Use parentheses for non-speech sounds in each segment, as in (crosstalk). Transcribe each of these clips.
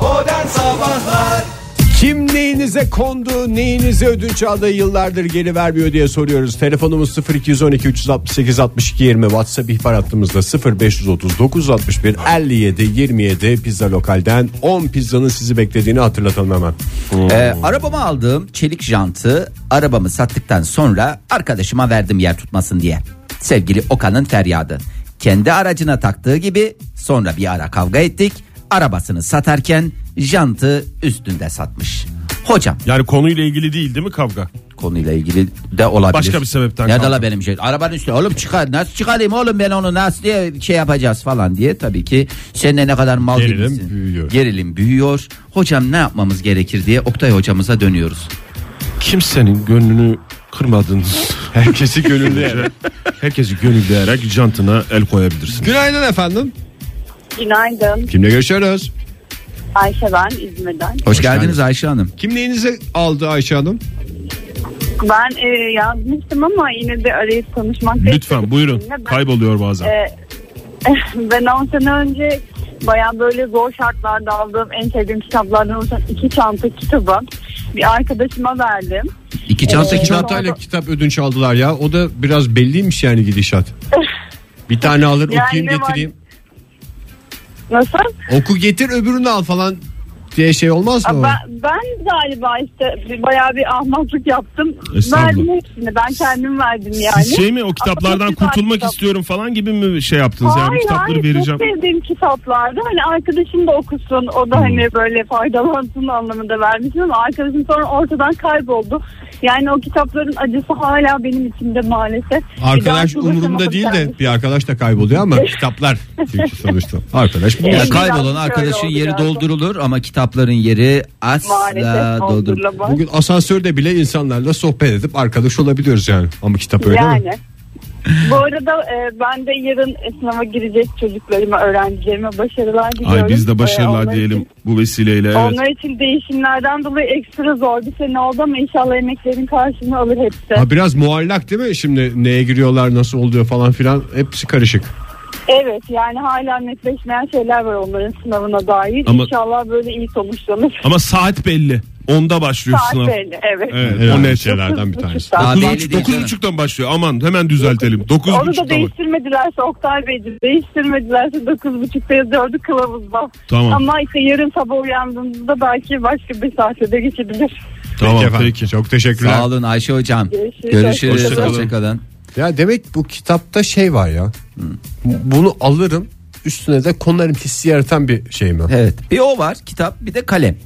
Modern Sabahlar kim neyinize kondu, neyinize ödünç aldı yıllardır geri vermiyor diye soruyoruz. Telefonumuz 0212 368 62 20 WhatsApp ihbar hattımızda 0539 61 57 27 pizza lokalden 10 pizzanın sizi beklediğini hatırlatalım hemen. Ee, arabama aldığım çelik jantı arabamı sattıktan sonra arkadaşıma verdim yer tutmasın diye. Sevgili Okan'ın feryadı. Kendi aracına taktığı gibi sonra bir ara kavga ettik. Arabasını satarken jantı üstünde satmış. Hocam Yani konuyla ilgili değil değil mi kavga? konuyla ilgili de olabilir. Başka bir sebepten Ne de kaldı. la benim şey. Arabanın üstüne oğlum çıkar. Nasıl çıkarayım oğlum ben onu nasıl diye şey yapacağız falan diye tabii ki seninle ne kadar mal Gerilim gibisin. büyüyor. Gerilim büyüyor. Hocam ne yapmamız gerekir diye Oktay hocamıza dönüyoruz. Kimsenin gönlünü kırmadınız. Herkesi gönülleyerek, herkesi gönülleyerek jantına el koyabilirsiniz. Günaydın efendim. Günaydın. Kimle görüşüyoruz? Ayşe ben İzmir'den. Hoş, geldiniz Ayşe Hanım. Kim neyinize aldı Ayşe Hanım? Ben e, yazmıştım ama yine de arayıp konuşmak Lütfen buyurun. Kaybol. Kayboluyor bazen. (laughs) ben 10 sene önce baya böyle zor şartlarda aldığım en sevdiğim kitaplardan oluşan iki çanta kitabı bir arkadaşıma verdim. İki çanta Ee, kitap. Çantayla kitap ödünç aldılar ya. O da biraz belliymiş yani gidişat. Bir tane alır Yani okuyayım ne var? getireyim. Nasıl? Oku getir öbürünü al falan diye şey olmaz mı? Aa, o? Ben, ben galiba işte bir- bayağı bir ahmaklık yaptım. Estağfurullah. Verdim hepsini. Ben kendim verdim yani. Siz şey mi o Ama kitaplardan çok güzel kurtulmak kitap. istiyorum falan gibi mi şey yaptınız? yani bu kitapları hayır, vereceğim. Çok sevdiğim kitaplardı. Hani arkadaşım da okusun. O da hani böyle faydalansın anlamında vermiştim ama arkadaşım sonra ortadan kayboldu. Yani o kitapların acısı hala benim içimde maalesef. Arkadaş Bir daha umurumda değil de konuşamadım bir arkadaş da kayboluyor ama kitaplar çünkü sonuçta. Arkadaş bu. Ya Biraz kaybolan şöyle arkadaşın oldu yeri biraz. doldurulur ama kitapların yeri asla Maalesef doldurulur. doldurulamaz. Bugün asansörde bile insanlarla sohbet edip arkadaş olabiliyoruz yani. Ama kitap öyle mi? Yani. Bu arada e, ben de yarın sınava girecek çocuklarıma, öğrencilerime başarılar diliyorum. Ay biz E, de başarılar onlar diyelim için- bu vesileyle. Evet. Onlar için değişimlerden dolayı ekstra zor bir sene oldu ama inşallah emeklerin karşılığını alır hepsi. Ha biraz muallak değil mi? Şimdi neye giriyorlar, nasıl oluyor falan filan hepsi karışık. Evet yani hala netleşmeyen şeyler var onların sınavına dair. Ama- İnşallah böyle iyi sonuçlanır. Ama saat belli. Onda başlıyor Saat sınav. belli evet. Evet, Evet. o O net. net şeylerden bir tanesi. Saat. Daha Dokuz belli buçuk- değil dokuz canım. buçuktan başlıyor. Aman hemen düzeltelim. Dokuz Onu da buçukta bak. değiştirmedilerse Oktay Beyciğim değiştirmedilerse 9.30'da yazıyordu kılavuzda. Tamam. Ama işte yarın sabah uyandığımızda belki başka bir saate de geçebilir. Tamam efendim. peki. Çok teşekkürler. Sağ olun Ayşe hocam. Görüşürüz. Görüşürüz. Hoşçakalın. Hoşçakalın. Ya demek bu kitapta şey var ya. Bunu alırım üstüne de konarım hissi yaratan bir şey mi? Evet. Bir o var kitap bir de kalem.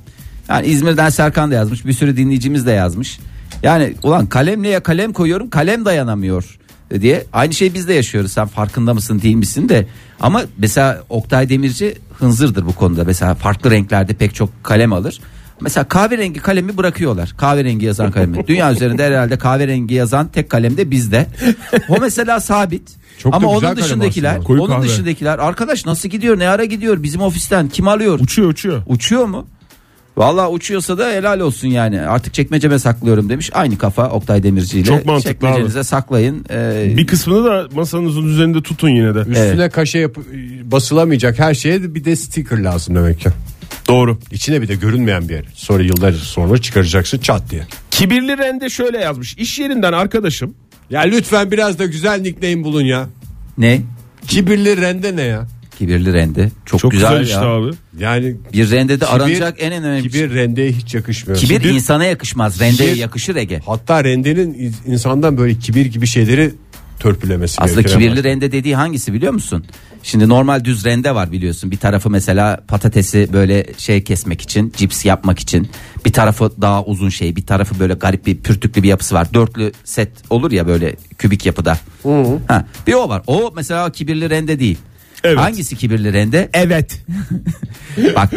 Yani İzmir'den Serkan da yazmış. Bir sürü dinleyicimiz de yazmış. Yani ulan kalem neye kalem koyuyorum kalem dayanamıyor diye. Aynı şey biz de yaşıyoruz. Sen farkında mısın değil misin de. Ama mesela Oktay Demirci hınzırdır bu konuda. Mesela farklı renklerde pek çok kalem alır. Mesela kahverengi kalemi bırakıyorlar. Kahverengi yazan (laughs) kalemi. Dünya üzerinde herhalde kahverengi yazan tek kalem de bizde. O mesela sabit. Çok da Ama güzel onun kalem dışındakiler, aslında. Koyu onun kahve. dışındakiler arkadaş nasıl gidiyor, ne ara gidiyor, bizim ofisten kim alıyor? Uçuyor uçuyor. Uçuyor mu? Vallahi uçuyorsa da helal olsun yani. Artık çekmeceme saklıyorum demiş. Aynı kafa Oktay Demirci ile. Çok mantıklı Çekmecenize saklayın. Ee, Bir kısmını da masanızın üzerinde tutun yine de. Üstüne kaşe yap- basılamayacak her şeye de bir de sticker lazım demek ki. Doğru. İçine bir de görünmeyen bir yer. Sonra yıllar sonra çıkaracaksın çat diye. Kibirli Rende şöyle yazmış. İş yerinden arkadaşım Ya lütfen biraz da güzel nickname bulun ya. Ne? Kibirli rende ne ya? Kibirli rende. Çok, çok güzel, güzel, işte ya. abi. Yani Bir rendede Kibir- aranacak en önemli kibir, kibir rendeye hiç yakışmıyor. kibir, insana yakışmaz. Rendeye Kibir- yakışır Ege. Hatta rendenin iz- insandan böyle kibir gibi şeyleri törpülemesi Aslında gerekir kibirli ama. rende dediği hangisi biliyor musun? Şimdi normal düz rende var biliyorsun. Bir tarafı mesela patatesi böyle şey kesmek için, cips yapmak için. Bir tarafı daha uzun şey, bir tarafı böyle garip bir pürtüklü bir yapısı var. Dörtlü set olur ya böyle kübik yapıda. Ha, bir o var. O mesela kibirli rende değil. Evet. Hangisi kibirli rende? E, Evet. Bak.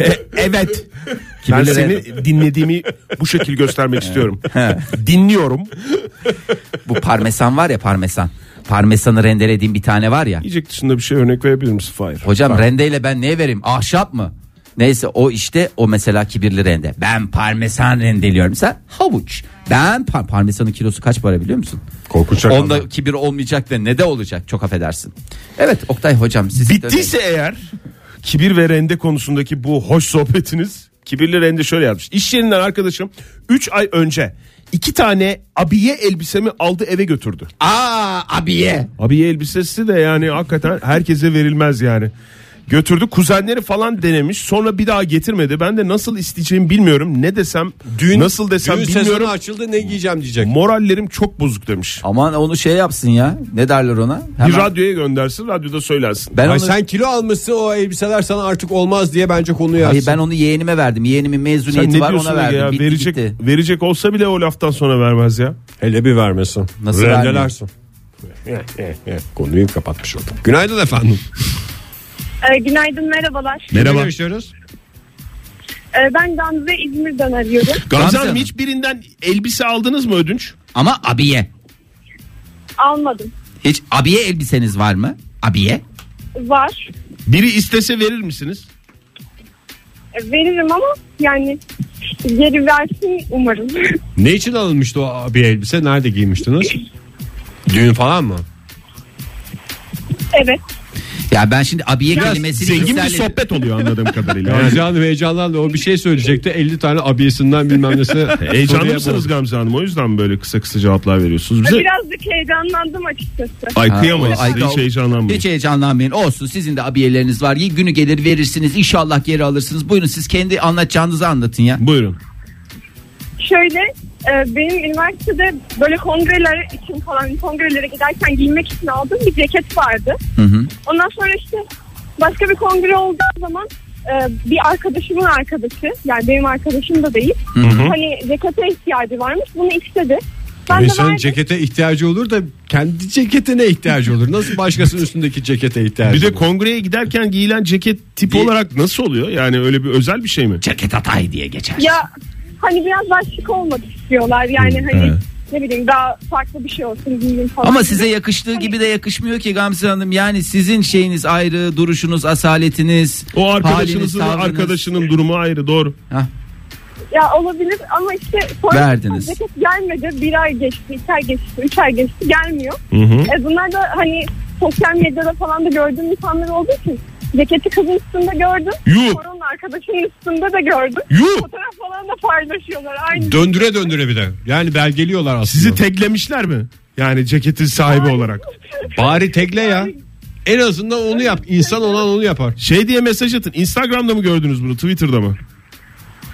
E, Evet. Ben Kibirli seni rende. dinlediğimi bu şekil göstermek istiyorum. Dinliyorum. Bu parmesan var ya parmesan. Parmesanı rendelediğim bir tane var ya. Yiyecek dışında bir şey örnek verebilir misin Fahir? Hocam rendeyle ben neye vereyim? Ahşap mı? Neyse o işte o mesela kibirli rende. Ben parmesan rendeliyorum. Sen havuç. Ben par- parmesanın kilosu kaç para biliyor musun? Korkunç rakam. Onda kibir olmayacak da ne de olacak çok affedersin. Evet Oktay hocam siz Bittiyse eğer kibir ve rende konusundaki bu hoş sohbetiniz. Kibirli rende şöyle yapmış. İş yerinden arkadaşım 3 ay önce iki tane abiye elbisemi aldı eve götürdü. Aa abiye. Abiye elbisesi de yani hakikaten herkese verilmez yani. Götürdü kuzenleri falan denemiş sonra bir daha getirmedi. Ben de nasıl isteyeceğimi bilmiyorum. Ne desem nasıl desem Düğün bilmiyorum. sezonu açıldı ne giyeceğim diyecek. Morallerim çok bozuk demiş. Aman onu şey yapsın ya. Ne derler ona? Bir Hemen- radyoya göndersin radyoda söylensin. ben Ay onu, sen kilo almışsın o elbiseler sana artık olmaz diye bence konuyu Hayır, açsın. ben onu yeğenime verdim. Yeğenimin Sen mezuniyeti ne var diyorsun ona Ege verdim. ya Bitti verecek, gitti. verecek olsa bile o laftan sonra vermez ya. Hele bir vermesin. Nasıl Rendelersin. (laughs) Konuyu kapatmış oldum. Günaydın efendim. Ee, günaydın merhabalar. Merhaba. Ee, ben Gamze İzmir'den arıyorum. Gamze Gamze Hanım Hanım. hiçbirinden elbise aldınız mı ödünç? Ama abiye. Almadım. Hiç abiye elbiseniz var mı? Abiye. Var. Biri istese verir misiniz? Ee, veririm ama yani geri versin umarım. (laughs) Ne için alınmıştı o abi elbise? Nerede giymiştiniz? Düğün falan mı? evet. Ya ben şimdi abiye kelimesini Zengin bir iptal ediyorum. sohbet oluyor anladığım kadarıyla. Yani Gamze Hanım heyecanlandı. O bir şey söyleyecekti. 50 tane abiyesinden bilmem nesine. (laughs) Heyecanlı soruya mısınız boğuldu. Gamze Hanım? O yüzden mi böyle kısa kısa cevaplar veriyorsunuz bize. Birazcık heyecanlandım açıkçası. Ay Ha, kıyamayız. o- ay, Hiç o- heyecanlanmayın. Hiç heyecanlanmayın. Olsun sizin de abiyeleriniz var. Günü gelir verirsiniz. İnşallah geri alırsınız. Buyurun siz kendi anlatacağınızı anlatın ya. Buyurun. Şöyle e, benim üniversitede böyle kongreler için falan kongrelere giderken giymek için aldığım bir ceket vardı. Ondan sonra işte başka bir kongre olduğu zaman e, bir arkadaşımın arkadaşı yani benim arkadaşım da değil. Hani cekete ihtiyacı varmış bunu istedi. Ben de İnsanın verdim. cekete ihtiyacı olur da kendi ceketine ihtiyacı olur. Nasıl başkasının üstündeki cekete ihtiyacı Bir de olur? kongreye giderken giyilen ceket tipi Bir- olarak nasıl oluyor? Yani öyle bir özel bir şey mi? Ceket atay diye geçer. ya hani biraz daha şık olmak istiyorlar yani hani ne bileyim daha farklı bir şey olsun giyeyim falan. Ama size yakıştığı gibi de yakışmıyor ki Gamze Hanım. Yani sizin şeyiniz ayrı, duruşunuz, asaletiniz, O haliniz, arkadaşınızın tavrınız. arkadaşının durumu ayrı doğru. Hah. Ya olabilir ama işte sonra Verdiniz. ceket gelmedi. Bir ay geçti, iki ay geçti, üç ay geçti gelmiyor. E bunlar da hani sosyal medyada falan da gördüğüm insanlar olduğu için ceketi kızın üstünde gördüm. Yuh. Koronun arkadaşının üstünde de gördüm. Yuh. Fotoğraf falan da paylaşıyorlar. Aynı. Döndüre döndüre bir de. Yani belgeliyorlar aslında. Sizi teklemişler mi? Yani ceketin sahibi olarak. Bari tekle ya. En azından onu yap. İnsan olan onu yapar. Şey diye mesaj atın. Instagram'da mı gördünüz bunu? Twitter'da mı?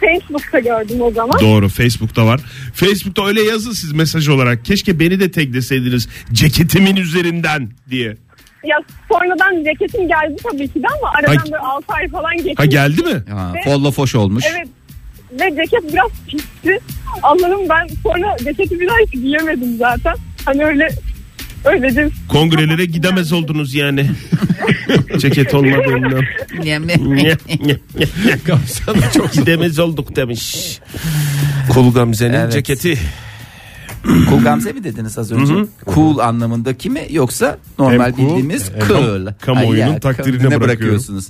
Facebook'ta gördüm o zaman. Doğru Facebook'ta var. Facebook'ta öyle yazın siz mesaj olarak. Keşke beni de tagleseydiniz ceketimin üzerinden diye. ya sonradan ceketim geldi tabii ki de ama aradan Ay. böyle 6 ay falan geçti. Ha geldi mi? Ha, folla foş olmuş. Evet. Ve ceket biraz pisti. Allah'ım ben sonra ceketi bir daha hiç giyemedim zaten. Hani öyle öylece Kongrelere gidemez oldunuz yani. Ceket olmadığından. çok gidemez olduk demiş. Kul Gamze'nin Evet. ceketi. Cool Gamze mi dediniz az önce? Cool anlamında kimi yoksa normal Hem cool, bildiğimiz hem cool. kamuoyunun Ay ya, takdirine kamuoyuna bırakıyorum. bırakıyorsunuz.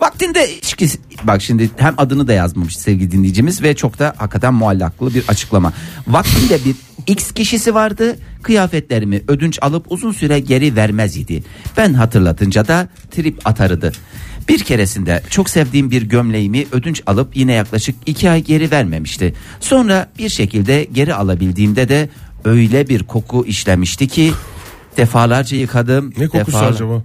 Vaktinde ilişkisi bak şimdi hem adını da yazmamış sevgili dinleyicimiz ve çok da hakikaten muallaklı bir açıklama. Vaktinde bir X kişisi vardı kıyafetlerimi ödünç alıp uzun süre geri vermez idi. Ben hatırlatınca da trip atarıdı. Bir keresinde çok sevdiğim bir gömleğimi ödünç alıp yine yaklaşık iki ay geri vermemişti. Sonra bir şekilde geri alabildiğimde de öyle bir koku işlemişti ki defalarca yıkadım. Ne kokusu defalar- acaba?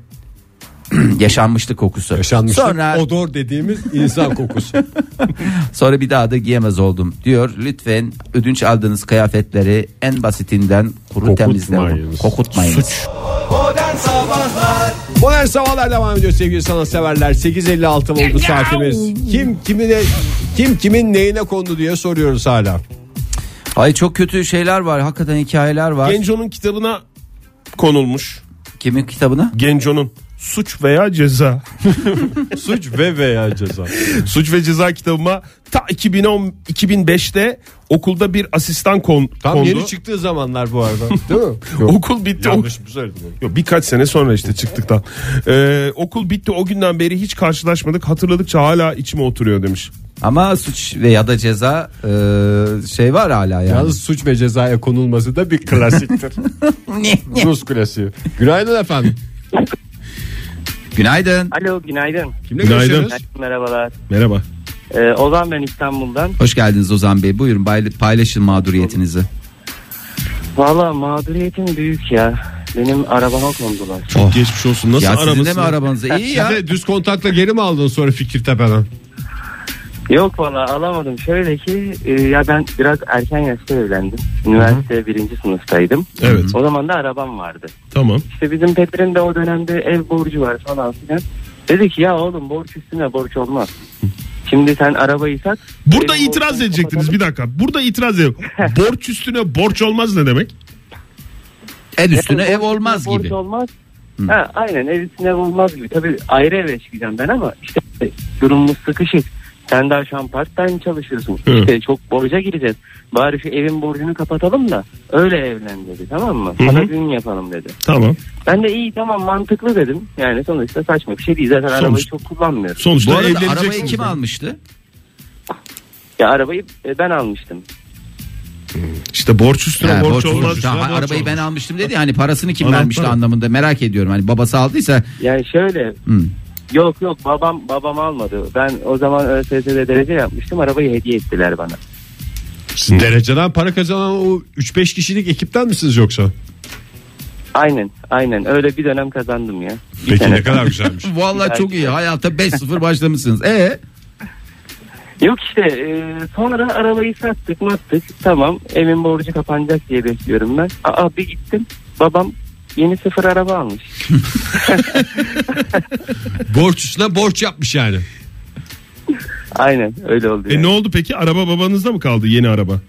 Yaşanmışlık kokusu. Yaşanmışlık Sonra odor dediğimiz insan kokusu. (laughs) Sonra bir daha da giyemez oldum diyor. Lütfen ödünç aldığınız kıyafetleri en basitinden kuru temizleyin. Kokutmayın. Modern Sabahlar devam ediyor sevgili sanatseverler. 8.56 oldu saatimiz. Kim kimine kim kimin neyine kondu diye soruyoruz hala. Ay çok kötü şeyler var. Hakikaten hikayeler var. Genco'nun kitabına konulmuş. Kimin kitabına? Genco'nun suç veya ceza. (laughs) Suç ve veya ceza. suç ve ceza kitabıma ta 2010 2005'te okulda bir asistan kon, Tam kondu. yeni çıktığı zamanlar (laughs) bu arada. Değil mi? Okul bitti. Yanlış mı söyledim? Yok, birkaç sene sonra işte çıktıktan. Ee, okul bitti o günden beri hiç karşılaşmadık. Hatırladıkça hala içime oturuyor demiş. Ama suç veya da ceza e, şey var hala yani. Yalnız suç ve cezaya konulması da bir (laughs) klasiktir. Rus klasiği. Günaydın efendim. Günaydın. Alo günaydın. Kimle Günaydın. görüşüyoruz? Merhabalar. Merhaba. Ee, Ozan ben İstanbul'dan. Hoş geldiniz Ozan Bey. Buyurun payla- paylaşın mağduriyetinizi. Valla mağduriyetim büyük ya. Benim arabama kondular. Oh. Geçmiş olsun. Nasıl Ya sizin de arabası? mi arabanız? İyi ya. Siz de düz kontakla geri mi aldın sonra Fikirtepe'den? Yok valla alamadım. Şöyle ki e, ya ben biraz erken yaşta evlendim. Üniversite birinci sınıftaydım. Evet. O zaman da arabam vardı. Tamam. İşte bizim Petr'in de o dönemde ev borcu var falan filan. Dedi ki ya oğlum borç üstüne borç olmaz. Şimdi sen arabayı sat. Burada Benim itiraz borcumu edecektiniz kapatalım. bir dakika. Burada (laughs) itiraz edin. borç üstüne borç olmaz ne demek? El üstüne Yani ev olmaz borç gibi. olmaz. Ha, aynen ev üstüne ev olmaz gibi. Tabii ayrı eve çıkacağım ben ama işte durumumuz sıkışık. Sen daha şu an part time çalışıyorsun. Hı. İşte çok borca gireceğiz. Bari şu evin borcunu kapatalım da öyle evlen dedi tamam mı? Hı hı. Sana düğün yapalım dedi. Tamam. Ben de iyi tamam mantıklı dedim. Yani sonuçta saçma bir şey değil. Zaten arabayı Sonuç- çok kullanmıyorum. Sonuçta Bu arada evleneceksiniz. arabayı kim almıştı? Ya arabayı e, ben almıştım. İşte borç üstüne Ha, borç, borç- olmaz. borç- Tamam, Üstüne borç arabayı ben olmaz. almıştım dedi. ya, Hani parasını kim Adam vermişti para- anlamında merak ediyorum. Hani babası aldıysa Yani şöyle Hı. yok yok babam babam almadı. Ben o zaman ÖSS'de derece yapmıştım. Arabayı hediye ettiler bana. Sizin dereceden para kazanan o 3-5 kişilik ekipten misiniz yoksa? Aynen aynen öyle bir dönem kazandım ya. Bir Peki sene. ne kadar (laughs) güzelmiş. vallahi çok iyi. Hayata 5-0 başlamışsınız. E Yok işte e, sonra arabayı sattık mattık tamam evin borcu kapanacak diye bekliyorum ben. Aa bir gittim babam yeni sıfır araba almış. borç üstüne borç yapmış yani. Aynen öyle oldu. yani. E, E ne oldu peki? Araba babanızda mı kaldı yeni araba?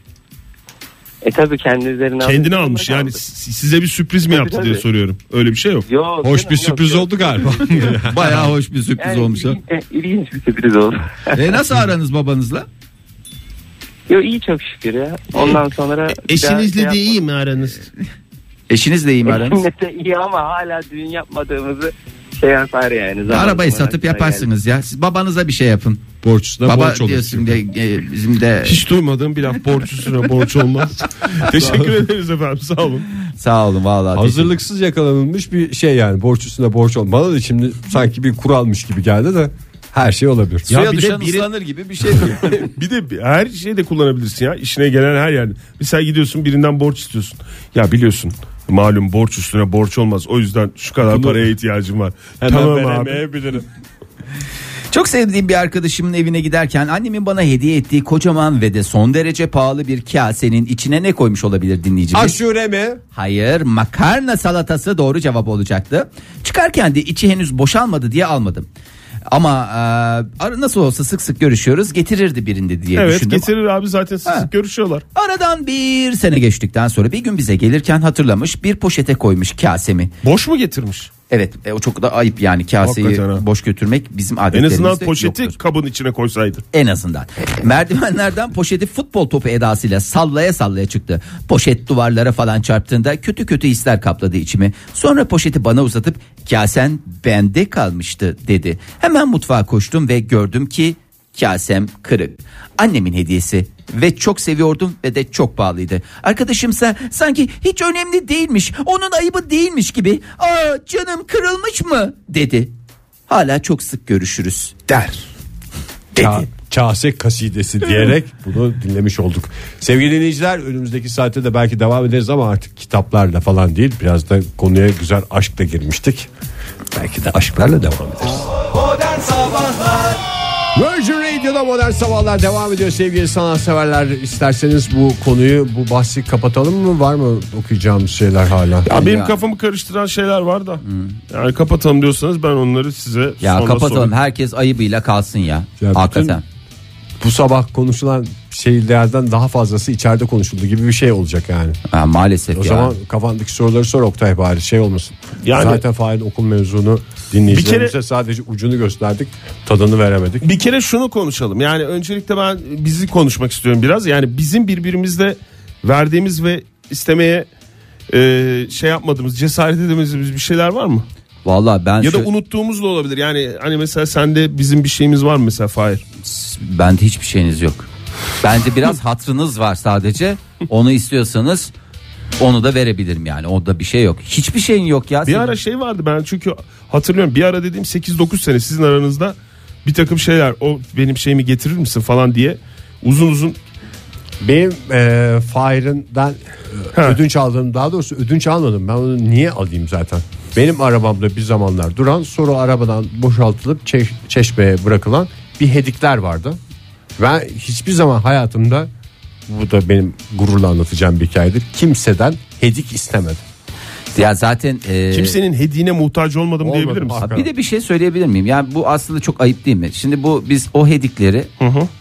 E, tabii kendi üzerine Kendini almış yani Tabii, si- size bir sürpriz mi Tabii, yaptı tabii. diye soruyorum. Öyle bir şey yok. Yok, Hoş canım, bir yok, şey sürpriz yok. oldu (laughs) galiba. bayağı hoş bir sürpriz Yani olmuş. ha. ilginç, e, ilginç bir sürpriz oldu. E nasıl aranız babanızla? Yo iyi çok şükür ya. Ondan sonra bir daha şey yapmadım. mi aranız? Eşinizle iyi mi (laughs) aranız? Eşimle de iyi ama hala düğün yapmadığımızı şey yapar yani. Zamanında Arabayı satıp aklına yaparsınız ya. Siz babanıza bir şey yapın. borç üstüne Baba borç olur. diyorsun de e, bizim de Hiç duymadığım bir laf borç üstüne borç (laughs) olmaz. Teşekkür ederiz efendim sağ olun. sağ olun vallahi. Hazırlıksız yakalanılmış bir şey yani borç üstüne borç olmalı da şimdi sanki bir kuralmış gibi geldi de her şey olabilir. Suya bir de düşen biri- ıslanır gibi bir şey. bir de bir- her şeyi de kullanabilirsin ya. İşine gelen her yerde. Mesela gidiyorsun birinden borç istiyorsun. Ya biliyorsun malum borç üstüne borç olmaz. O yüzden şu kadar paraya ihtiyacım var. tamam abi. (laughs) Çok sevdiğim bir arkadaşımın evine giderken annemin bana hediye ettiği kocaman ve de son derece pahalı bir kasenin içine ne koymuş olabilir dinleyicimiz? Aşure mi? Hayır makarna salatası doğru cevap olacaktı. Çıkarken de içi henüz boşalmadı diye almadım. Ama e, ara- nasıl olsa sık sık görüşüyoruz getirirdi birinde diye Evet düşündüm. getirir abi zaten sık Ha. sık görüşüyorlar. Aradan bir sene geçtikten sonra bir gün bize gelirken hatırlamış bir poşete koymuş kasemi. Boş mu getirmiş? Evet e, o çok da ayıp yani kaseyi Hakikaten ha. boş götürmek bizim En adetlerimizde azından poşeti yoktur. kabın içine koysaydı. En azından. Merdivenlerden poşeti futbol topu edasıyla sallaya sallaya çıktı. Poşet duvarlara falan çarptığında kötü kötü hisler kapladı içimi. Sonra poşeti bana uzatıp kasen bende kalmıştı dedi. Hemen mutfağa koştum ve gördüm ki kasem kırık. Annemin hediyesi ve çok seviyordum ve de çok pahalıydı. Arkadaşımsa sanki hiç önemli değilmiş, onun ayıbı değilmiş gibi. Aa canım kırılmış mı dedi. Hala çok sık görüşürüz der. Ka- kase kasidesi diyerek bunu dinlemiş olduk. Sevgili dinleyiciler önümüzdeki saatte de belki devam ederiz ama artık kitaplarla falan değil biraz da konuya güzel aşkla girmiştik. Belki de aşklarla devam ederiz. Virgin Radio'da modern sabahlar devam ediyor sevgili sanatseverler. İsterseniz bu konuyu bu bahsi kapatalım mı? Var mı okuyacağımız şeyler hala? Ya benim Ya. Hmm. kafamı karıştıran şeyler var da. Yani kapatalım diyorsanız ben onları size Ya sonra kapatalım sorayım. herkes ayıbıyla kalsın ya. Ya bütün- Hakikaten. Bu sabah konuşulan şeylerden daha fazlası içeride konuşuldu gibi bir şey olacak yani. Ha, maalesef O ya. zaman kafandaki soruları sor Oktay bari şey olmasın. Yani- Zaten fail okul mevzunu dinleyicilerimize sadece ucunu gösterdik tadını veremedik. Bir kere şunu konuşalım. Yani öncelikle ben bizi konuşmak istiyorum biraz. Yani bizim birbirimizle verdiğimiz ve istemeye e, şey yapmadığımız, cesaret edemediğimiz bir şeyler var mı? Vallahi ben Ya da Şey- şu- unuttuğumuz da olabilir. Yani hani mesela sende bizim bir şeyimiz var mı mesela Fahir? bende (laughs) hiçbir şeyiniz yok. Bence biraz hatrınız var sadece. Onu istiyorsanız Onu da verebilirim yani. Onda bir şey yok. Hiçbir şeyin yok ya. Bir senin. ara şey vardı ben çünkü hatırlıyorum bir ara dediğim 8-9 sene sizin aranızda bir takım şeyler o benim şeyimi getirir misin falan diye uzun uzun Benim e, Fahir'den e, Ha. ödünç aldığım daha doğrusu ödünç almadım. Ben onu niye alayım zaten? Benim arabamda bir zamanlar duran sonra arabadan boşaltılıp çe- çeşmeye bırakılan bir hedikler vardı. Ben hiçbir zaman hayatımda bu da benim gururla anlatacağım bir hikayedir. Kimseden hedik istemedim. Ya zaten e, kimsenin hediyene muhtaç olmadım Ee, Olmadım. diyebilir misin? Hakikaten. bir de bir şey söyleyebilir miyim? Yani bu aslında çok ayıp değil mi? Şimdi bu biz o hedikleri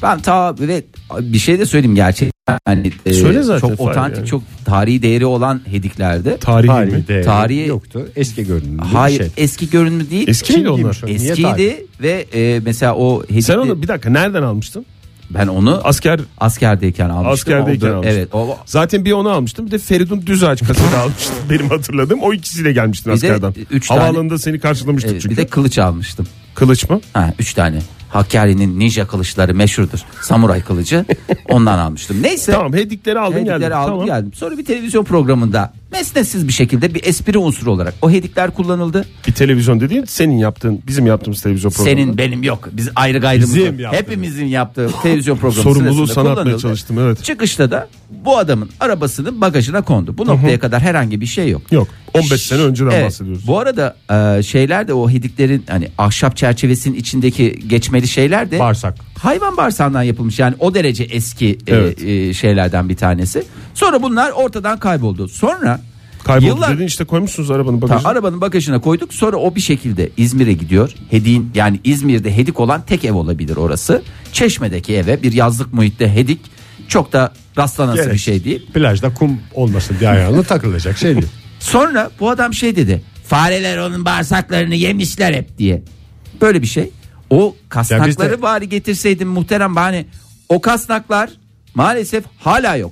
ben ta ve bir şey de söyleyeyim gerçekten yani e, Söyle zaten çok Fahir otantik yani. çok tarihi değeri olan hediklerde Tarihi, mi? Tarihte Tarihi- yoktu. Eski görünümlü bir hayır şey. eski görünümü değil. Eski miydi onlar? Eskiymiş o. Niye tarih? Eskiydi ve e, mesela o hedik Sen onu bir dakika nereden almıştın? ben onu Asker askerdeyken almıştım. Askerdeyken Oldu. almıştım. Evet. O, Zaten bir onu almıştım. Bir de Feridun Düzağaç (laughs) kaseti almıştım. Benim hatırladığım o ikisiyle gelmiştin Bir de askerden. üç tane- Havaalanında seni karşılamıştık evet, çünkü. bir de kılıç almıştım. Kılıç mı? Ha, üç tane. Hakkari'nin ninja kılıçları meşhurdur. Samuray kılıcı. Ondan almıştım. Neyse. Tamam hedikleri aldın Hedikleri geldin. aldım tamam. geldim. Sonra bir televizyon programında mesnetsiz bir şekilde bir espri unsuru olarak o hedikler kullanıldı. Bir televizyon dediğin senin yaptığın bizim yaptığımız televizyon programı. Senin benim yok. Biz ayrı gayrımız Bizim yok. yaptığımız. Hepimizin yaptığı televizyon programı (laughs) Sorumluluğu sırasında sana atmaya kullanıldı. çalıştım evet. Çıkışta da bu adamın arabasının bagajına kondu. Bu noktaya kadar herhangi bir şey yok. Yok 15 sene önceden Evet. bahsediyoruz. Bu arada e, şeyler de o hediklerin hani ahşap çerçevesinin içindeki geçmeli şeyler de Bağırsak. hayvan bağırsağından yapılmış yani o derece eski e, Evet. e, şeylerden bir tanesi. Sonra bunlar ortadan kayboldu. Sonra Kayboldu yıllar dedin işte koymuşsunuz arabanın Ta, bagajına. arabanın bagajına koyduk. Sonra o bir şekilde İzmir'e gidiyor. Hedin yani İzmir'de hedik olan tek ev olabilir orası. Çeşme'deki eve bir yazlık muhitte hedik çok da rastlanası bir şey değil. Plajda kum olmasın diye ayağına takılacak şey değil. Sonra bu adam şey dedi. Fareler onun bağırsaklarını yemişler hep diye. Böyle bir şey. O kasnakları Ya biz de- bari getirseydim muhterem hani o kasnaklar maalesef hala yok.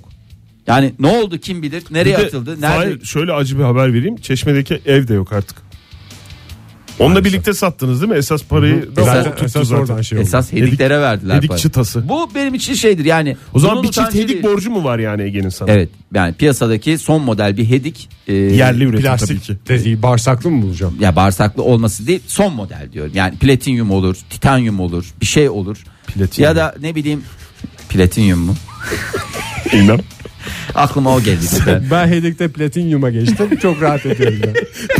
Yani ne oldu kim bilir nereye Bir de atıldı nerede Fahir, şey şöyle acı bir haber vereyim. Çeşmedeki ev de yok artık. Onunla birlikte sattınız değil mi? Esas parayı da Esas- o tuttu esas zaten. oradan şey oldu. esas hediklere Hedik- verdiler. hedik parayı. çıtası. Bu benim için şeydir yani. O zaman bunun bir çift utancı hedik değil. borcu mu var yani Ege'nin sana? Evet yani piyasadaki son model bir hedik. e, Yerli üretim tabii ki. (laughs) Plastik dediği bağırsaklı mı bulacağım? ya bağırsaklı olması değil son model diyorum. Yani platinyum olur, titanyum olur, bir şey olur. Platinyum. Ya da ne bileyim platinyum mu? Bilmem. Aklıma o (laughs) geldi. işte. Ben hedikte platinyuma (laughs) geçtim. Çok rahat ediyorum ben.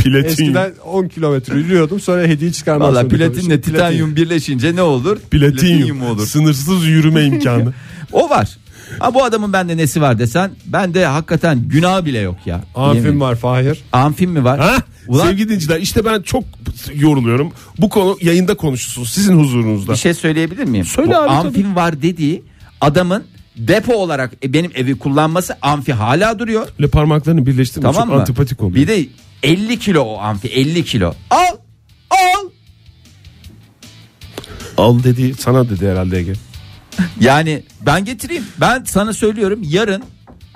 Platin, Eskiden 10 kilometre yürüyordum sonra hediye çıkarmak Valla zorunda platinle kalmıştım. titanyum birleşince ne olur? platinyum. Sınırsız (laughs) yürüme imkanı. O var. Ha bu adamın bende nesi var desen bende hakikaten günah bile yok ya. Yemin- Amfim var Fahir. Amfim mi var? ha? Ulan Sevgili dinleyiciler işte ben çok yoruluyorum. Bu konu yayında konuşulsun sizin huzurunuzda. bir şey söyleyebilir miyim? Söyle Bu abi, amfim var dediği adamın depo olarak e, benim evi kullanması amfi hala duruyor. Le parmaklarını birleştirme Tamam çok mı? antipatik oluyor. Bir de 50 kilo o amfi 50 kilo. Al al. al dedi sana dedi herhalde Ege. Yani ben getireyim. Ben sana söylüyorum yarın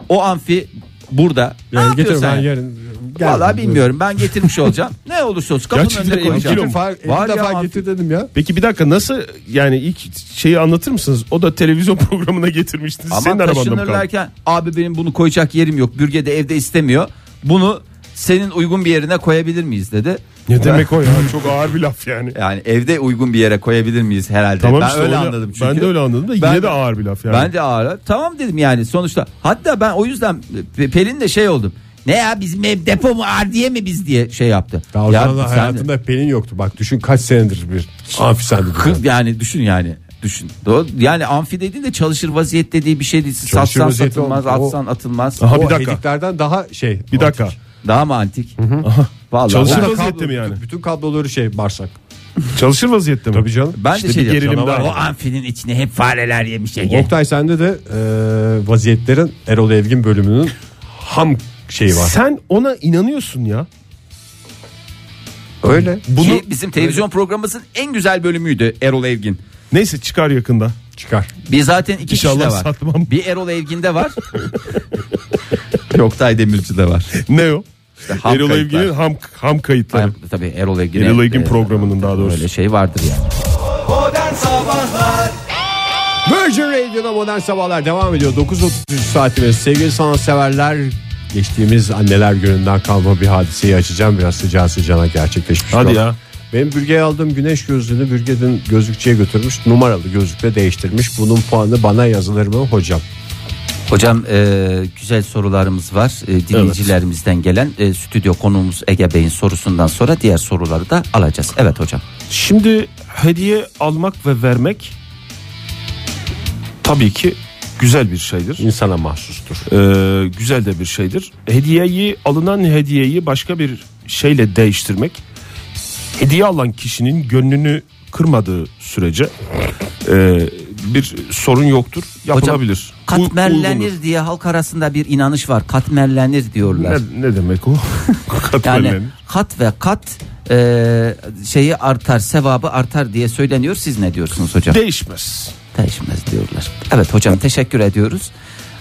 o amfi burada. Ne Yani getir yapıyorsun ben sen? yarın. gel. Vallahi bilmiyorum. Ben getirmiş olacağım. (laughs) ne olursa olsun kapının Gerçekten önüne elli koyacağım. kilo Getir mu? Fahir. elli Var ya defa amfi. getir dedim ya. Peki bir dakika nasıl yani ilk şeyi anlatır mısınız? O da televizyon (laughs) programına getirmiştiniz. Senin Ama arabanda mı kaldı? taşınırlarken abi benim bunu koyacak yerim yok. Bürge de evde istemiyor. Bunu senin uygun bir yerine koyabilir miyiz dedi. Ne demek o ya? Çok ağır bir laf yani. Yani evde uygun bir yere koyabilir miyiz herhalde. Tamam ben işte öyle onu- anladım çünkü. Ben de öyle anladım da yine Ben- de ağır bir laf yani. Bence ağır. Tamam dedim yani sonuçta. Hatta ben o yüzden Pe- Pelin de şey oldum. Ne ya bizim ev depo mu ağır diye mi biz diye şey yaptı. Daha o Ya zaman da sen de- hayatında pelin yoktu. Bak düşün kaç senedir bir amfi sende. duruyor. Kız yani düşün yani. Düşün. Doğru. Yani amfi dediğin de çalışır vaziyet dediği bir şey değil. Satsan vaziyette satılmaz, olmaz. O- atsan atılmaz. Aha, o bir dakika. hediklerden daha şey. bir dakika. Daha mı antik? Vallahi Çalışır ben- Kablo- vaziyette mi yani? bütün- Bütün kabloları şey bağırsak. Çalışır vaziyette mi? Tabii canım. Ben de İşte şey bir gerilim yapacağım ama daha. Oh. O amfinin içine hep fareler yemiş Ege. Oktay sende de e, vaziyetlerin Erol Evgin bölümünün ham şeyi var. Sen ona inanıyorsun ya. Öyle. Bunu Ki Şey, bizim televizyon programımızın en güzel bölümüydü Erol Evgin. Neyse çıkar yakında. çıkar. Bir zaten iki kişi de İnşallah var. satmam. Bir Erol Evgin'de (laughs) var. Bir Oktay Demirci de var. (laughs) Ne o? ham Erol kayıtlar. Evgin'in ham, ham kayıtları. Ay, tabii Erol Evgin'e. e, Erol Evgin programının daha doğrusu. Öyle şey vardır yani. Virgin Radio'da modern sabahlar devam ediyor. 9.33 saatimiz. Sevgili sanatseverler Geçtiğimiz anneler gününden kalma bir hadiseyi açacağım. Biraz sıcağı sıcağına gerçekleşmiş. Hadi bir ya. olay. Benim bürgeye aldığım güneş gözlüğünü bürgeden gözlükçüye götürmüş. Numaralı gözlükle değiştirmiş. Bunun puanı bana yazılır mı hocam? Hocam e, güzel sorularımız var. E, dinleyicilerimizden gelen e, stüdyo konuğumuz Ege Bey'in sorusundan sonra diğer soruları da alacağız. Evet hocam. Şimdi hediye almak ve vermek tabii ki güzel bir şeydir. İnsana mahsustur. Ee, güzel de bir şeydir. Hediyeyi alınan hediyeyi başka bir şeyle değiştirmek hediye alan kişinin gönlünü kırmadığı sürece e, bir sorun yoktur. Yapılabilir. U- Katmerlenir uygundur. diye halk arasında bir inanış var. Katmerlenir diyorlar. Ne, ne demek o? Yani Katmerlenir. kat ve kat e, şeyi artar, sevabı artar diye söyleniyor. Siz ne diyorsunuz hocam? Değişmez. Değişmez diyorlar. Evet hocam teşekkür ediyoruz.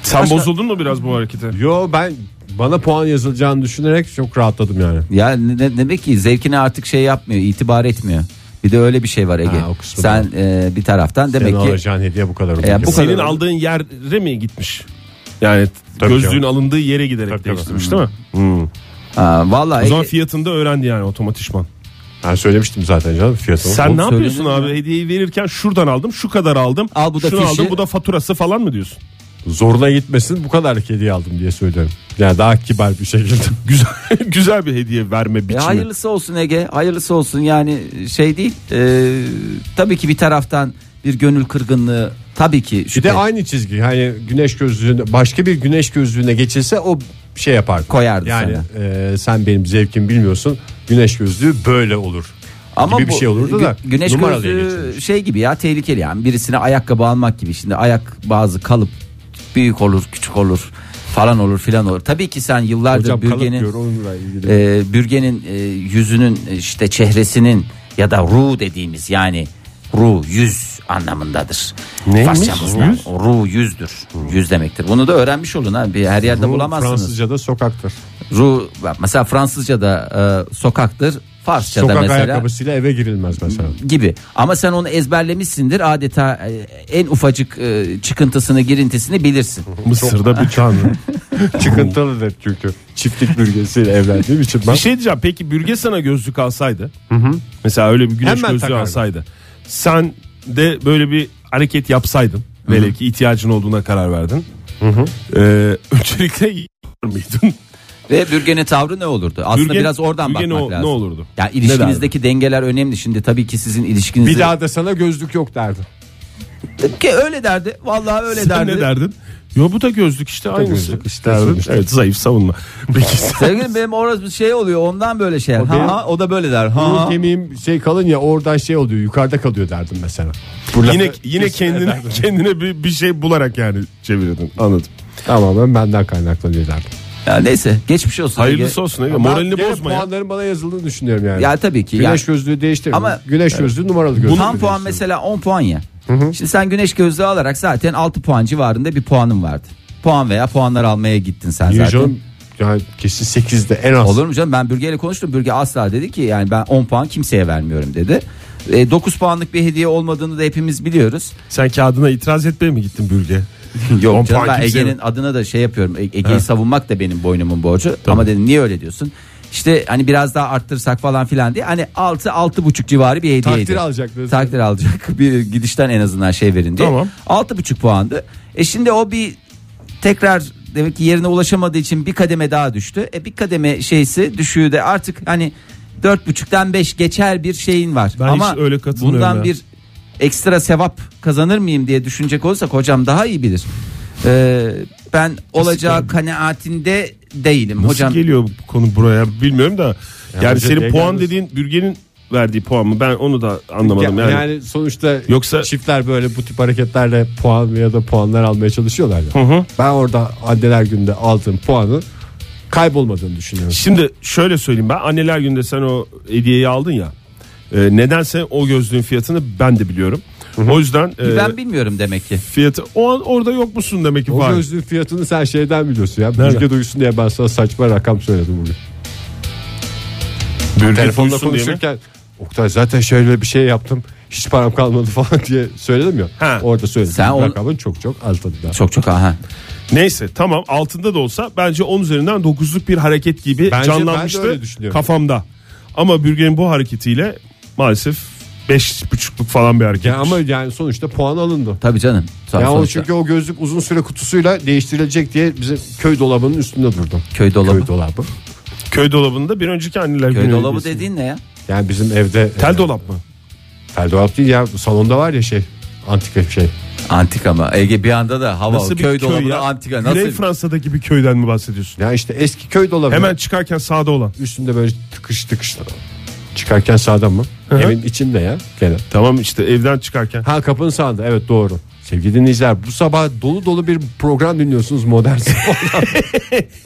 Sen Başka- bozuldun mu biraz bu harekete? Yo ben bana puan yazılacağını düşünerek çok rahatladım yani. Ya ne, ne demek ki zevkine artık şey yapmıyor, itibar etmiyor. Bir de öyle bir şey var Ege. Ha, o kısmı Sen e, bir taraftan Demek demek ki alacağın hediye bu kadar. E Ya bu Senin kadar. aldığın yere mi gitmiş? Yani Tabii gözlüğün canım. alındığı yere giderek Tabii tabii. değiştirmiş değil mi? Aa, vallahi O zaman Ege- E, fiyatını da öğrendi yani otomatikman. Ben söylemiştim zaten canım fiyatını. Sen ne söylenir yapıyorsun mi abi? Hediyeyi verirken şuradan aldım, şu kadar aldım. Al bu da şunu fişi. aldım, bu da faturası falan mı diyorsun? Zoruna gitmesin bu kadar hediye aldım diye söylüyorum. Yani daha kibar bir şekilde. (laughs) Güzel güzel bir hediye verme biçimi. E, hayırlısı olsun Ege, hayırlısı olsun yani şey değil. e, tabii ki bir taraftan bir gönül kırgınlığı tabii ki. Bir şüphe de aynı çizgi hani güneş gözlüğüne başka bir güneş gözlüğüne geçilse o şey yapar. Koyardı Yani sana. e, sen benim zevkimi bilmiyorsun. Güneş gözlüğü böyle olur. Ama gibi bir şey olurdu gü- da. Güneş numaralıya gözlüğü geçilmiş. şey gibi ya tehlikeli yani birisine ayakkabı almak gibi şimdi ayak bazı kalıp büyük olur küçük olur falan olur filan olur. Tabii ki sen yıllardır Hocam bürgenin kalıp diyor onunla ilgili. e, bürgenin e, yüzünün e, işte çehresinin ya da ruh dediğimiz yani ruh yüz anlamındadır. Neymiş? Farsçamızda Yüz? o ruh yüzdür. Yüz demektir. Bunu da öğrenmiş olun ha. Bir her yerde bulamazsınız. Fransızca'da sokaktır. Ruh bak mesela Fransızca'da e, sokaktır. Farsça'da Sokak mesela ayakkabısıyla eve girilmez mesela. gibi. Ama sen onu ezberlemişsindir. Adeta e, en ufacık e, çıkıntısını, girintisini bilirsin. Mısır'da (laughs) bir tanrı. Çıkıntılıdır çünkü. Çiftlik bölgesiyle evlendiğim için ben. bir şey diyeceğim. Peki bürge sana gözlük alsaydı. Mesela öyle bir güneş Hemen gözlüğü takardım. alsaydı. Sen de böyle bir hareket yapsaydın. Böyle ki ihtiyacın olduğuna karar verdin. Ee, öncelikle (laughs) yapar mıydın? Ve bürgenin tavrı ne olurdu? Aslında Bürgen- biraz oradan bürgen bakmak o- lazım. ne olurdu? Ya ilişkinizdeki dengeler önemli. Şimdi tabii ki sizin ilişkiniz Bir daha da sana gözlük yok derdi. E, ki öyle derdi. Vallahi öyle Sen derdi. ne derdin? Yo bu da gözlük işte aynısı. gözlük işte Gözlük. derdim işte. Evet zayıf (laughs) savunma. Peki sen- Sevgilim benim orası bir şey oluyor. Ondan böyle şey. Ha, benim- ha, o da böyle der. Ha, Ruh ha. kemiğim şey kalın ya oradan şey oluyor yukarıda kalıyor derdim mesela. yine yine kendine kendine bir, bir şey bularak yani çevirdin. Anladım. Tamamen benden kaynaklanıyor derdim. Ya neyse geçmiş olsun. Hayırlısı Ege. olsun. Ege. Moralini Ben bozma gene ya. Puanların bana yazıldığını düşünüyorum yani. Ya tabii ki. yani- Güneş gözlüğü değiştir. Ama- güneş gözlüğü numaralı gözlüğü. Tam puan değiştir. mesela 10 puan ya. Şimdi sen güneş gözlüğü alarak zaten 6 puan civarında bir puanın vardı. Puan veya puanlar almaya gittin sen Niye zaten. canım? Yani kesin 8'de en az. Olur mu canım ben bürgeyle konuştum. Bürge asla dedi ki yani ben 10 puan kimseye vermiyorum dedi. E, 9 puanlık bir hediye olmadığını da hepimiz biliyoruz. Sen kağıdına itiraz etmeye mi gittin bürge? On (laughs) Yok canım puan ben kimseye Ege'nin adına da şey yapıyorum. E- Ege'yi savunmak da benim boynumun borcu. Ama dedim niye öyle diyorsun? İşte hani biraz daha arttırsak falan filan diye. Hani 6 altı buçuk civarı bir hediyeydi. Takdir alacak diyorsun. Takdir alacak. (laughs) Bir gidişten en azından şey verin diye. Tamam. Altı buçuk puandı. E şimdi o bir tekrar demek ki yerine ulaşamadığı için bir kademe daha düştü. E bir kademe şeysi düşüğü de artık hani dört buçuktan beş geçer bir şeyin var. Ben Ama hiç öyle katılmıyorum bundan ya. bir ekstra sevap kazanır mıyım diye düşünecek olursak hocam daha iyi bilir. Ee, ben olacağı kanaatinde değilim Nasıl hocam. geliyor bu konu buraya bilmiyorum da. Yani, hocam niye senin puan geldiniz? dediğin bürgenin verdiği puan mı? Ben onu da anlamadım Ya- yani. yani. sonuçta Yoksa- çiftler böyle bu tip hareketlerle puan ya da puanlar almaya çalışıyorlar ya. Ben orada anneler günde aldığım puanı kaybolmadığını düşünüyorum. Şimdi şöyle söyleyeyim ben anneler günde sen o hediyeyi aldın ya. E, nedense o gözlüğün fiyatını ben de biliyorum. O yüzden e, Ben bilmiyorum demek ki. fiyatı o an orada yok musun demek ki O var. gözlüğün fiyatını sen şeyden biliyorsun ya. Bilge duysun diye ben sana saçma rakam söyledim bugün. Bürge Telefonla duysun diye mi? konuşurken Oktay zaten şöyle bir şey yaptım. hiç param kalmadı (laughs) falan diye söyledim ya. Ha. Orada söyledim. Sen onu- Rakamın çok çok az tabii daha. Çok çok aha. Neyse tamam altında da olsa bence 10 üzerinden 9'luk bir hareket gibi Bence ben de canlanmıştı öyle düşünüyorum. kafamda. Ama Bürgen'in bu hareketiyle maalesef 5.5'luk falan bir hareket. Ya ama yani sonuçta puan alındı. Tabii canım. Sağ- Ya o sonuçta çünkü o gözlük uzun süre kutusuyla değiştirilecek diye bize köy dolabının üstünde durdu. köy dolabı. Köy dolabı. Köy dolabında bir önceki anneler Köy günü dolabı hediyesi. dediğin ne ya? Yani bizim evde e, Tel dolap mı? tel dolap değil ya salonda var ya şey antika şey. Antik ama Ege bir anda da hava Nasıl köy bir köy dolabı ya? da antika nasıl? Güney Fransa'daki bir köyden mi bahsediyorsun? Ya işte eski köy dolabı. Hemen çıkarken sağda olan. üstünde böyle tıkış tıkış çıkarken sağdan mı? hı. Evin içinde ya gene. Tamam işte evden çıkarken. Ha kapının sağında evet doğru. Sevgili dinleyiciler bu sabah dolu dolu bir program dinliyorsunuz modern (laughs) sabahlar.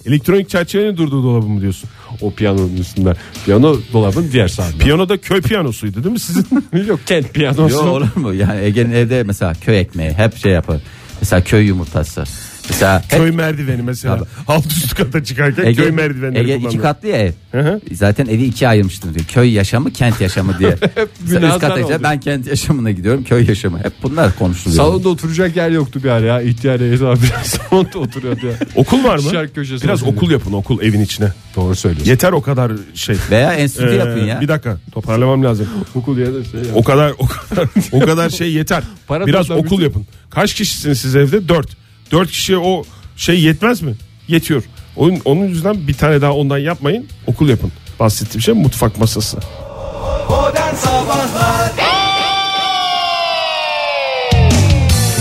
Elektronik çerçevenin durduğu dolabı mı diyorsun? o piyanonun üstünde. Piyano dolabın diğer sağında. Piyanoda köy piyanosuydu değil (laughs) mi sizin? Yok kent piyanosu. Yok olur mu? Yani Ege'nin evde mesela köy ekmeği hep şey yapar. Mesela köy yumurtası. Mesela hep köy merdiveni mesela. Alt üst kata çıkarken köy merdivenleri Ege iki kullanılıyor. katlı ya ev. hı. Zaten evi ikiye ayırmıştım diyor. Köy yaşamı, kent yaşamı (laughs) diye. Mesela üst münazara kata oldu. işte ben kent yaşamına gidiyorum, köy yaşamı. Hep bunlar konuşuluyor. Salonda oturacak yer yoktu bir ara ya. İhtiyar Eyüp abi biraz (laughs) salonda oturuyordu ya. Okul var mı? Şarkı köşesi Biraz olsun okul yapın okul evin içine. Doğru söylüyorsun. Yeter o kadar şey. (laughs) Veya enstitü yapın Ee, ya. Bir dakika toparlamam lazım. Okul ya da şey ya. O kadar o kadar o kadar (laughs) şey yeter. Para Biraz toplam okul yapın. Kaç kişisiniz siz evde? Dört. Dört kişiye o şey yetmez mi? Yetiyor. Onun, onun yüzünden bir tane daha ondan yapmayın. Okul yapın. Bahsettiğim şey mutfak masası.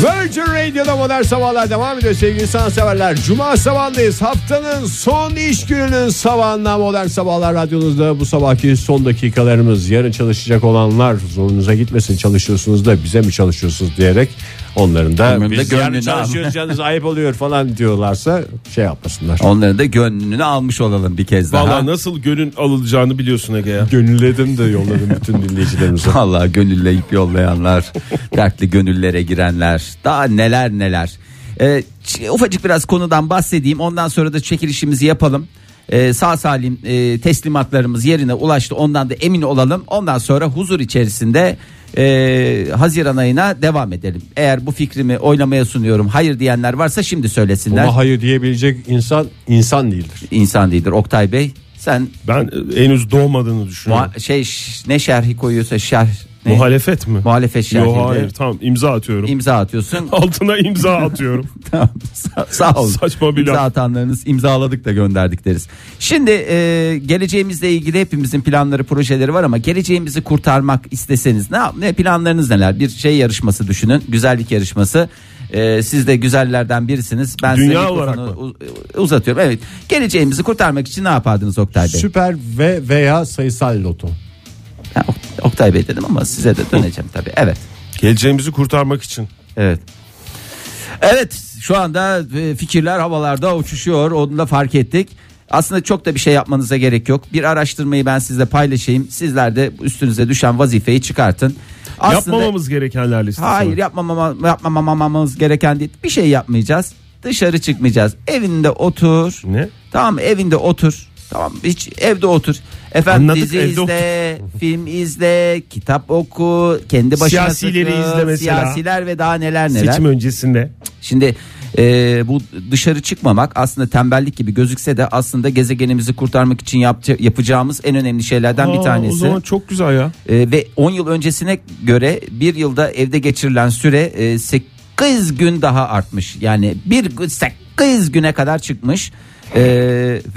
Virgin Radio'da modern sabahlar devam ediyor sevgili sanatseverler. Cuma sabahındayız. Haftanın son iş gününün sabahında modern sabahlar radyonuzda bu sabahki son dakikalarımız. Yarın çalışacak olanlar zorunuza gitmesin çalışıyorsunuz da bize mi çalışıyorsunuz diyerek onların da Onların da biz yarın gönlünü çalışıyoruz canınız ayıp oluyor falan diyorlarsa şey yapmasınlar. Onların da gönlünü almış olalım bir kez daha. Vallahi nasıl gönül alınacağını biliyorsun Ege ya. Gönülledim de yolladım bütün dinleyicilerimize. (laughs) Vallahi gönülleyip yollayanlar, dertli gönüllere girenler, daha neler neler. Ee, ç- ufacık biraz konudan bahsedeyim. Ondan sonra da çekilişimizi yapalım. Ee, sağ salim e, teslimatlarımız yerine ulaştı. Ondan da emin olalım. Ondan sonra huzur içerisinde e, Haziran ayına devam edelim. Eğer bu fikrimi oylamaya sunuyorum. Hayır diyenler varsa şimdi söylesinler. Ama hayır diyebilecek insan insan değildir. İnsan değildir. Oktay Bey sen Ben e, henüz doğmadığını düşünüyorum. muha- şey ş- ne şerhi koyuyorsa şerh ne? (laughs) Muhalefet mi? muhalefet şerhinde Yo hayır tamam imza atıyorum. imza atıyorsun. (laughs) Altına (laughs) imza atıyorum. Tamam, sağ, (laughs) sağ olun. Saçma bir İmza laf. atanlarınız imzaladık da gönderdik deriz. Şimdi e, geleceğimizle ilgili hepimizin planları projeleri var ama geleceğimizi kurtarmak isteseniz ne, yap- ne planlarınız neler? Bir şey yarışması düşünün güzellik yarışması. E, siz de güzellerden birisiniz. Ben size Dünya mikrofonu olarak mı? u- uzatıyorum. Evet. Geleceğimizi kurtarmak için ne yapardınız Oktay Bey? (laughs) Süper ve veya sayısal loto. Ha, Ok- Oktay Bey dedim ama size de döneceğim tabii. Evet. Geleceğimizi kurtarmak için. Evet. Evet şu anda e, fikirler havalarda uçuşuyor onu da fark ettik. Aslında çok da bir şey yapmanıza gerek yok. Bir araştırmayı ben sizle paylaşayım. Sizler de üstünüze düşen vazifeyi çıkartın. Yapmamamız gerekenler listesi. var. Hayır yapmamamamız yapmamamamız gereken değil. Bir şey yapmayacağız. Dışarı çıkmayacağız. Evinde otur. Ne? Tamam evinde otur. Tamam hiç evde otur. Efendim Anladık, dizi evde izle, (laughs) film izle, kitap oku, kendi başına Siyasileri takıl, izle mesela. Siyasiler ve daha neler neler. Seçim öncesinde. Şimdi e, bu dışarı çıkmamak aslında tembellik gibi gözükse de aslında gezegenimizi kurtarmak için yapça- yapacağımız en önemli şeylerden bir Aa, tanesi. O zaman çok güzel ya. E, ve 10 yıl öncesine göre bir yılda evde geçirilen süre e, 8 gün daha artmış. Yani bir gün 8 güne kadar çıkmış E,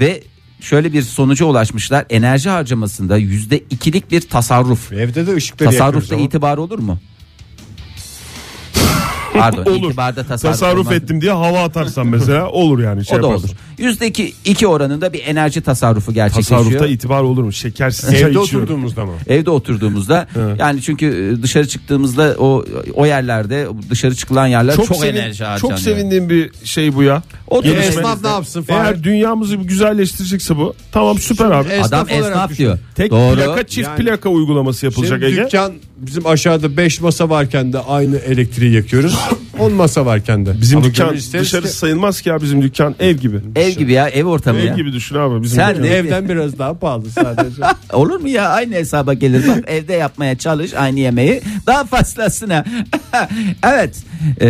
ve şöyle bir sonuca ulaşmışlar. Enerji harcamasında %2'lik bir tasarruf. Evde de ışıkları yakıyoruz Tasarrufta ama. itibar olur (laughs) mu? Pardon, Olur. itibarda tasarruf, Tasarruf olmaz. ettim diye hava atarsan mesela (laughs) olur yani. Şey o da olur. yaparsın. Yüzde iki, iki oranında bir enerji tasarrufu gerçekleşiyor. Tasarrufta itibar olur mu? Şekersiz çay Evde içiyorum. oturduğumuzda mı? Evde oturduğumuzda yani çünkü e, dışarı çıktığımızda o o yerlerde dışarı çıkılan yerler çok, sevin- enerji harcanıyor. Çok sevindiğim bir şey bu ya. O Yine Gelişme- esnaf ne yapsın? Fahir? Eğer dünyamızı güzelleştirecekse bu. Tamam süper abi. Esnaf Adam olarak esnaf düşün. diyor. Tek e- Doğru. plaka çift Yani- plaka uygulaması yapılacak Şimdi Ege. dükkan bizim aşağıda 5 masa varken de aynı elektriği yakıyoruz. 10 masa var kendi. Bizim Ama dükkan gönül isteriz dışarı ki sayılmaz ki ya bizim dükkan ev gibi. Ev gibi ya ev ortamı Ev ya. gibi düşün abi bizim Sen dükkan. de- evden biraz daha (laughs) pahalı sadece. Olur mu ya aynı hesaba gelir (laughs) bak evde yapmaya çalış aynı yemeği daha fazlasına. (laughs) evet Ee,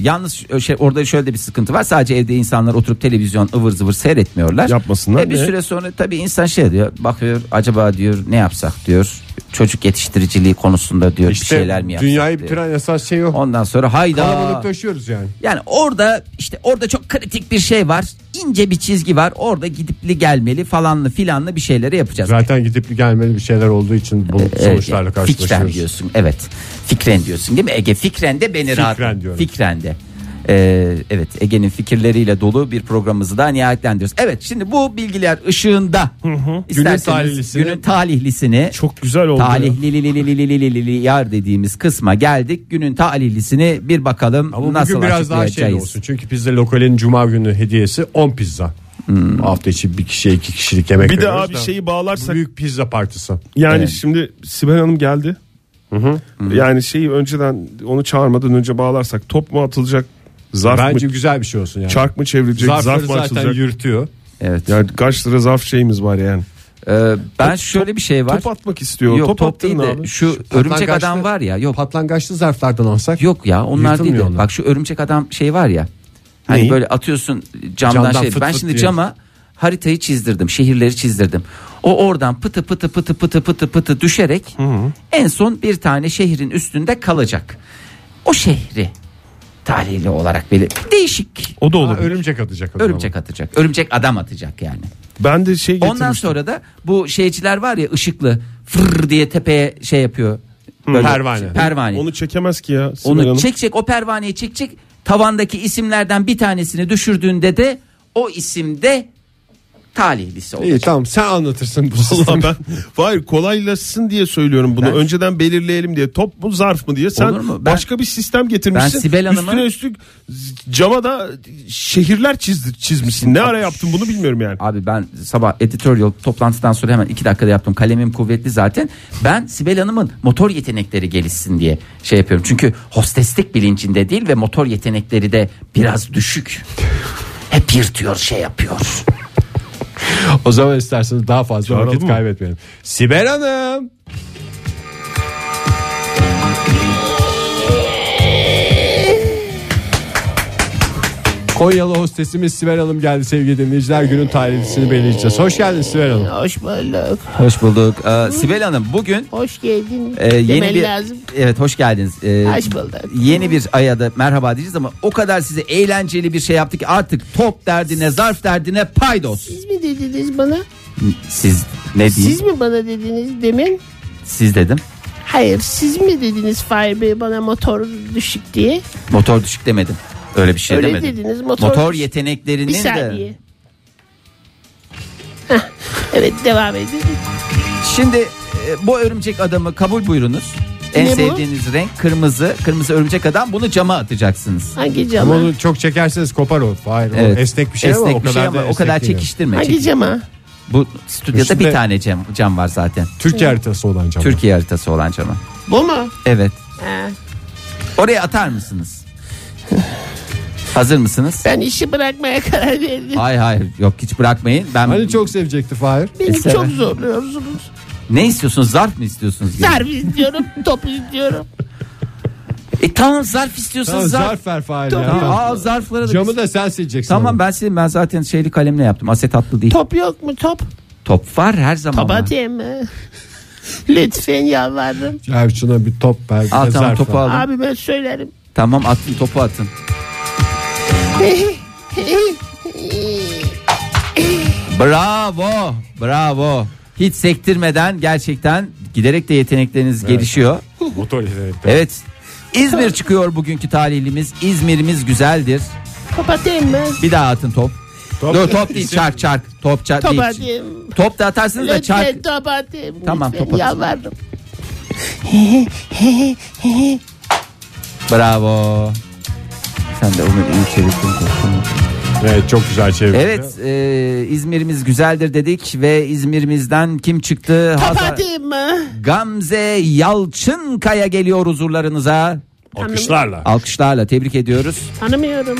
yalnız şey, orada şöyle de bir sıkıntı var sadece evde insanlar oturup televizyon ıvır zıvır seyretmiyorlar. Yapmasınlar E, bir diye. süre sonra tabii insan şey diyor bakıyor acaba diyor ne yapsak diyor çocuk yetiştiriciliği konusunda diyor bir şeyler mi yapsak dünyayı diyor. bitiren esas şey o. Ondan sonra hayda. Kalabalıklaşıyoruz yani. Yani orada işte orada çok kritik bir şey var. ince bir çizgi var. Orada gidipli gelmeli falanlı filanlı bir şeyleri yapacağız. Zaten gidip gelmeli bir şeyler olduğu için bu Evet, sonuçlarla yani Fikren karşılaşıyoruz. diyorsun. Evet. Fikren diyorsun değil mi? Ege Fikren de beni rahat. Fikren diyorum. Fikren de. Ee, evet Ege'nin fikirleriyle dolu bir programımızı da nihayetlendiriyoruz. Evet şimdi bu bilgiler ışığında isterseniz günün talihlisini, talihlisini- Çok güzel oldu. ya. talihlililililililili yar dediğimiz kısma geldik. Günün talihlisini bir bakalım Ama nasıl bugün biraz daha şey açıklayacağız. olsun. Çünkü pizza lokalinin cuma günü hediyesi 10 pizza. Hmm. Hafta içi bir kişiye iki kişilik yemek Bir de veriyoruz abi şey da. şeyi bağlarsak Büyük pizza partisi. yani şimdi Sibel Hanım geldi. Yani şeyi önceden onu çağırmadan önce bağlarsak top mu atılacak? Zarf Bence mı? güzel bir şey olsun yani. Çark mı çevrilecek? Zarfları zarf mı zaten atılacak? yürütüyor. Evet. Yani kaç lira zarf şeyimiz var yani. Ee, ben şöyle bir şey var. Top atmak istiyor. Yok top, top, attın değil de abi. şu örümcek Patlangaçlı- adam var ya. Yok Patlangaçlı zarflardan alsak. Yok ya onlar değil. Yırtılmıyor de. onlar. Bak şu örümcek adam şey var ya. Hani Neyi? böyle atıyorsun camdan, Camdan şey. fıt ben fıt şimdi diye. cama haritayı çizdirdim. Şehirleri çizdirdim. O oradan pıtı pıtı pıtı pıtı pıtı pıtı düşerek en son bir tane şehrin üstünde kalacak. O şehri tarihli olarak böyle değişik O da Ha, olur. örümcek atacak. o zaman. örümcek atacak. Örümcek adam atacak yani. Ben de şey getirmiştim. Ondan sonra da bu şeyciler var ya ışıklı fırr diye tepeye şey yapıyor. Böyle Pervane. Pervane. Onu çekemez ki ya. Sibel Onu Hanım. çekecek o pervaneyi çekecek tavandaki isimlerden bir tanesini düşürdüğünde de o isimde talihlisi olacak. İyi tamam sen anlatırsın bu Vallahi sistemi. ben hayır kolaylaşsın diye söylüyorum bunu. Ben- Önceden belirleyelim diye. Top mu zarf mı diye. Sen Olur mu? Ben- başka bir sistem getirmişsin. Ben Sibel Hanım'ı- Üstüne üstlük cama da şehirler çizdi, çizmişsin. Ne ara yaptın bunu bilmiyorum yani. Abi ben sabah editorial toplantıdan sonra hemen iki dakikada yaptım. Kalemim kuvvetli zaten. Ben Sibel Hanım'ın motor yetenekleri gelişsin diye şey yapıyorum. Çünkü hosteslik bilincinde değil ve motor yetenekleri de biraz düşük. Hep yırtıyor şey yapıyor. o zaman isterseniz daha fazla Çağıralım vakit mı? kaybetmeyelim. Sibel Hanım. Konyalı hostesimiz Sibel Hanım geldi sevgili dinleyiciler. Günün tarihlisini belirleyeceğiz. Hoş geldiniz Sibel Hanım. Hoş bulduk. Hoş bulduk. Ee, Sibel Hanım bugün Hoş geldin. e, yeni Demen bir... lazım. Evet hoş geldiniz. Ee, Hoş bulduk. yeni bir aya da merhaba diyeceğiz ama o kadar size eğlenceli bir şey yaptık ki artık top derdine zarf derdine paydos. Siz mi dediniz bana? Siz ne Siz Siz, mi bana dediniz demin? Siz dedim. Hayır siz mi dediniz Fahir Bey bana motor düşük diye? Motor düşük demedim. Öyle bir şey Öyle demedim. dediniz motor, Motor düşük. yeteneklerinin Bir de. saniye. Hah, evet devam edin. Şimdi e, bu örümcek adamı kabul buyurunuz. En Ne bu? sevdiğiniz renk kırmızı. Kırmızı örümcek adam bunu cama atacaksınız. Hangi Ama cama? onu çok çekerseniz kopar o. Hayır o Evet. esnek bir şey esnek ama o bir kadar, şey da ama o esnek kadar değil. çekiştirme. Hangi Çek- cama? Bu stüdyoda Üstünde- bir tane cam, cam var zaten. Türkçe haritası olan cam. Türkiye haritası olan cama. Bu mu? Evet. Ha, Oraya atar mısınız? Hazır mısınız? ben işi bırakmaya karar verdim. Hayır hayır yok hiç bırakmayın. Ben Hani çok sevecekti Fahir. Beni Mesela- çok zorluyorsunuz. ne istiyorsunuz? Zarf mı istiyorsunuz? Zarf (laughs) istiyorum, top istiyorum. E tamam zarf istiyorsunuz zarf. Tamam, zarf ver Fahir ya. Tamam, Tamam. Aa zarfları da Camı da sen sileceksin. Tamam ama. ben sildim ben zaten şeyli kalemle yaptım. Aset atlı değil. Top yok mu top? Top var her zaman. Top var. atayım mı? Lütfen yalvarırım. Ya şuna bir top ver. bir Al de tamam zarf topu ver. alın. Abi ben söylerim. (laughs) Tamam attın topu atın. Bravo. Bravo. Hiç sektirmeden gerçekten giderek de yetenekleriniz gelişiyor. Motor yetenekleri. Evet. İzmir çıkıyor bugünkü talihlimiz. İzmir'imiz güzeldir. Kapatayım mı? Bir daha atın top. Top- Dur top değil çark çark. Top çark Top değil. atayım. Top da atarsınız da çark. Lütfen top atayım. Tamam, Lütfen, top atın. Yalvarırım. Bravo. Sen de onu iyi çevirdin. Evet çok güzel çevirdi. Evet e, İzmir'imiz güzeldir dedik ve İzmir'imizden kim çıktı? Top Hazar- atayım mı? Gamze Yalçınkaya geliyor huzurlarınıza. Alkışlarla. Alkışlarla tebrik ediyoruz. Tanımıyorum.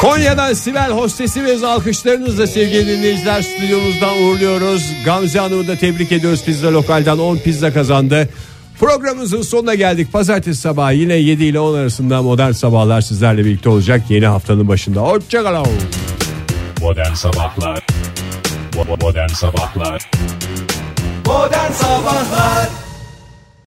Konya'dan Sibel hostesi ve alkışlarınızla sevgili dinleyiciler stüdyomuzdan uğurluyoruz. Gamze Hanım'ı da tebrik ediyoruz. Pizza Lokal'dan 10 pizza kazandı. Programımızın sonuna geldik. Pazartesi sabahı yine 7 ile 10 arasında modern sabahlar sizlerle birlikte olacak. Yeni haftanın başında. Hoşçakalın. Modern Sabahlar Bo- Modern Sabahlar Modern Sabahlar